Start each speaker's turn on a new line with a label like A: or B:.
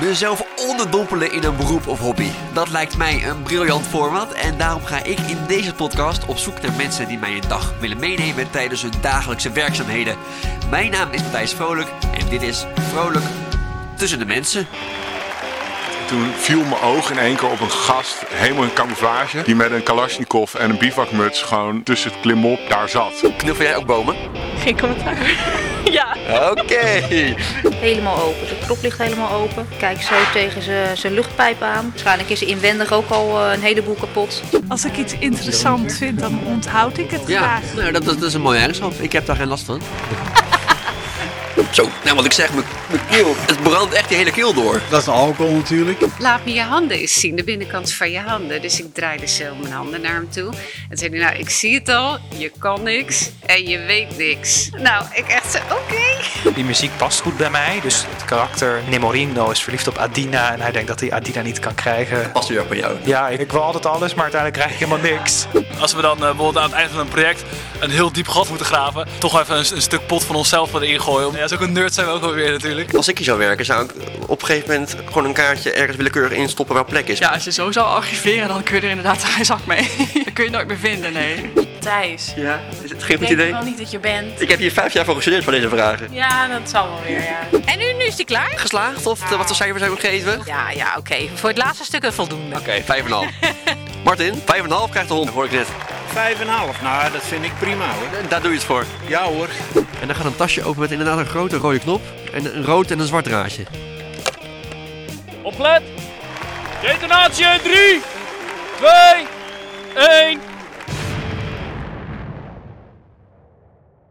A: Mezelf onderdompelen in een beroep of hobby. Dat lijkt mij een briljant format en daarom ga ik in deze podcast op zoek naar mensen die mij een dag willen meenemen tijdens hun dagelijkse werkzaamheden. Mijn naam is Matthijs Vrolijk en dit is Vrolijk tussen de mensen.
B: Toen viel mijn oog in één keer op een gast, helemaal in camouflage, die met een kalasjnikov en een bivakmuts gewoon tussen het klimop daar zat.
A: Knuffel jij ook bomen?
C: Geen commentaar. ja.
A: Oké.
C: Helemaal open. De knop ligt helemaal open. Kijk zo tegen zijn- zijn luchtpijp aan. Waarschijnlijk is er inwendig ook al eh, een heleboel kapot.
D: Als ik iets interessant vind, dan onthoud ik het
A: Ja,
D: graag.
A: nou, dat, dat is een mooie eigenschap. Ik heb daar geen last van. Zo, nou wat ik zeg, mijn mijn keel, het brandt echt die hele keel door.
E: Dat is een alcohol natuurlijk.
F: Laat me je handen eens zien, de binnenkant van je handen. Dus ik draaide zo mijn handen naar hem toe. En zei hij, nou, ik zie het al, je kan niks en je weet niks. Nou, ik echt zo, oké.
G: Die muziek past goed bij mij. Dus het karakter Nemorino is verliefd op Adina. En hij denkt dat hij Adina niet kan krijgen.
A: Past weer bij jou.
G: Ja, ik wil altijd alles, maar uiteindelijk krijg ik helemaal niks.
H: Als we dan eh, bijvoorbeeld aan het eind van een project een heel diep gat moeten graven, toch even een, een stuk pot van onszelf erin gooien. Ja, zo'n nerd zijn we ook alweer natuurlijk.
I: Als ik hier zou werken, zou ik op een gegeven moment gewoon een kaartje ergens willekeurig instoppen waar plek is.
J: Ja, als je zo zou archiveren, dan kun je er inderdaad een zak mee. Dat kun je nooit meer vinden, nee.
K: Thijs, ik
I: Ja, is het geen goed
K: denk
I: idee?
K: wel niet dat je bent.
I: Ik heb hier vijf jaar voor gestudeerd voor deze vragen.
K: Ja, dat zal wel weer, ja.
J: En nu, nu is die klaar?
A: Geslaagd of eh, wat voor cijfers hebben we gegeven?
J: Ja, ja, oké. Voor het laatste stuk een voldoende.
A: Oké, 5,5. Martin, 5,5 krijgt de hond, hoor ik net.
E: Vijf en een half, nou dat vind ik prima hoor.
A: Daar doe je het voor.
E: Ja hoor.
A: En dan gaat een tasje open met inderdaad een grote rode knop. En een rood en een zwart draadje.
H: Oplet! Detonatie 3, 2, 1.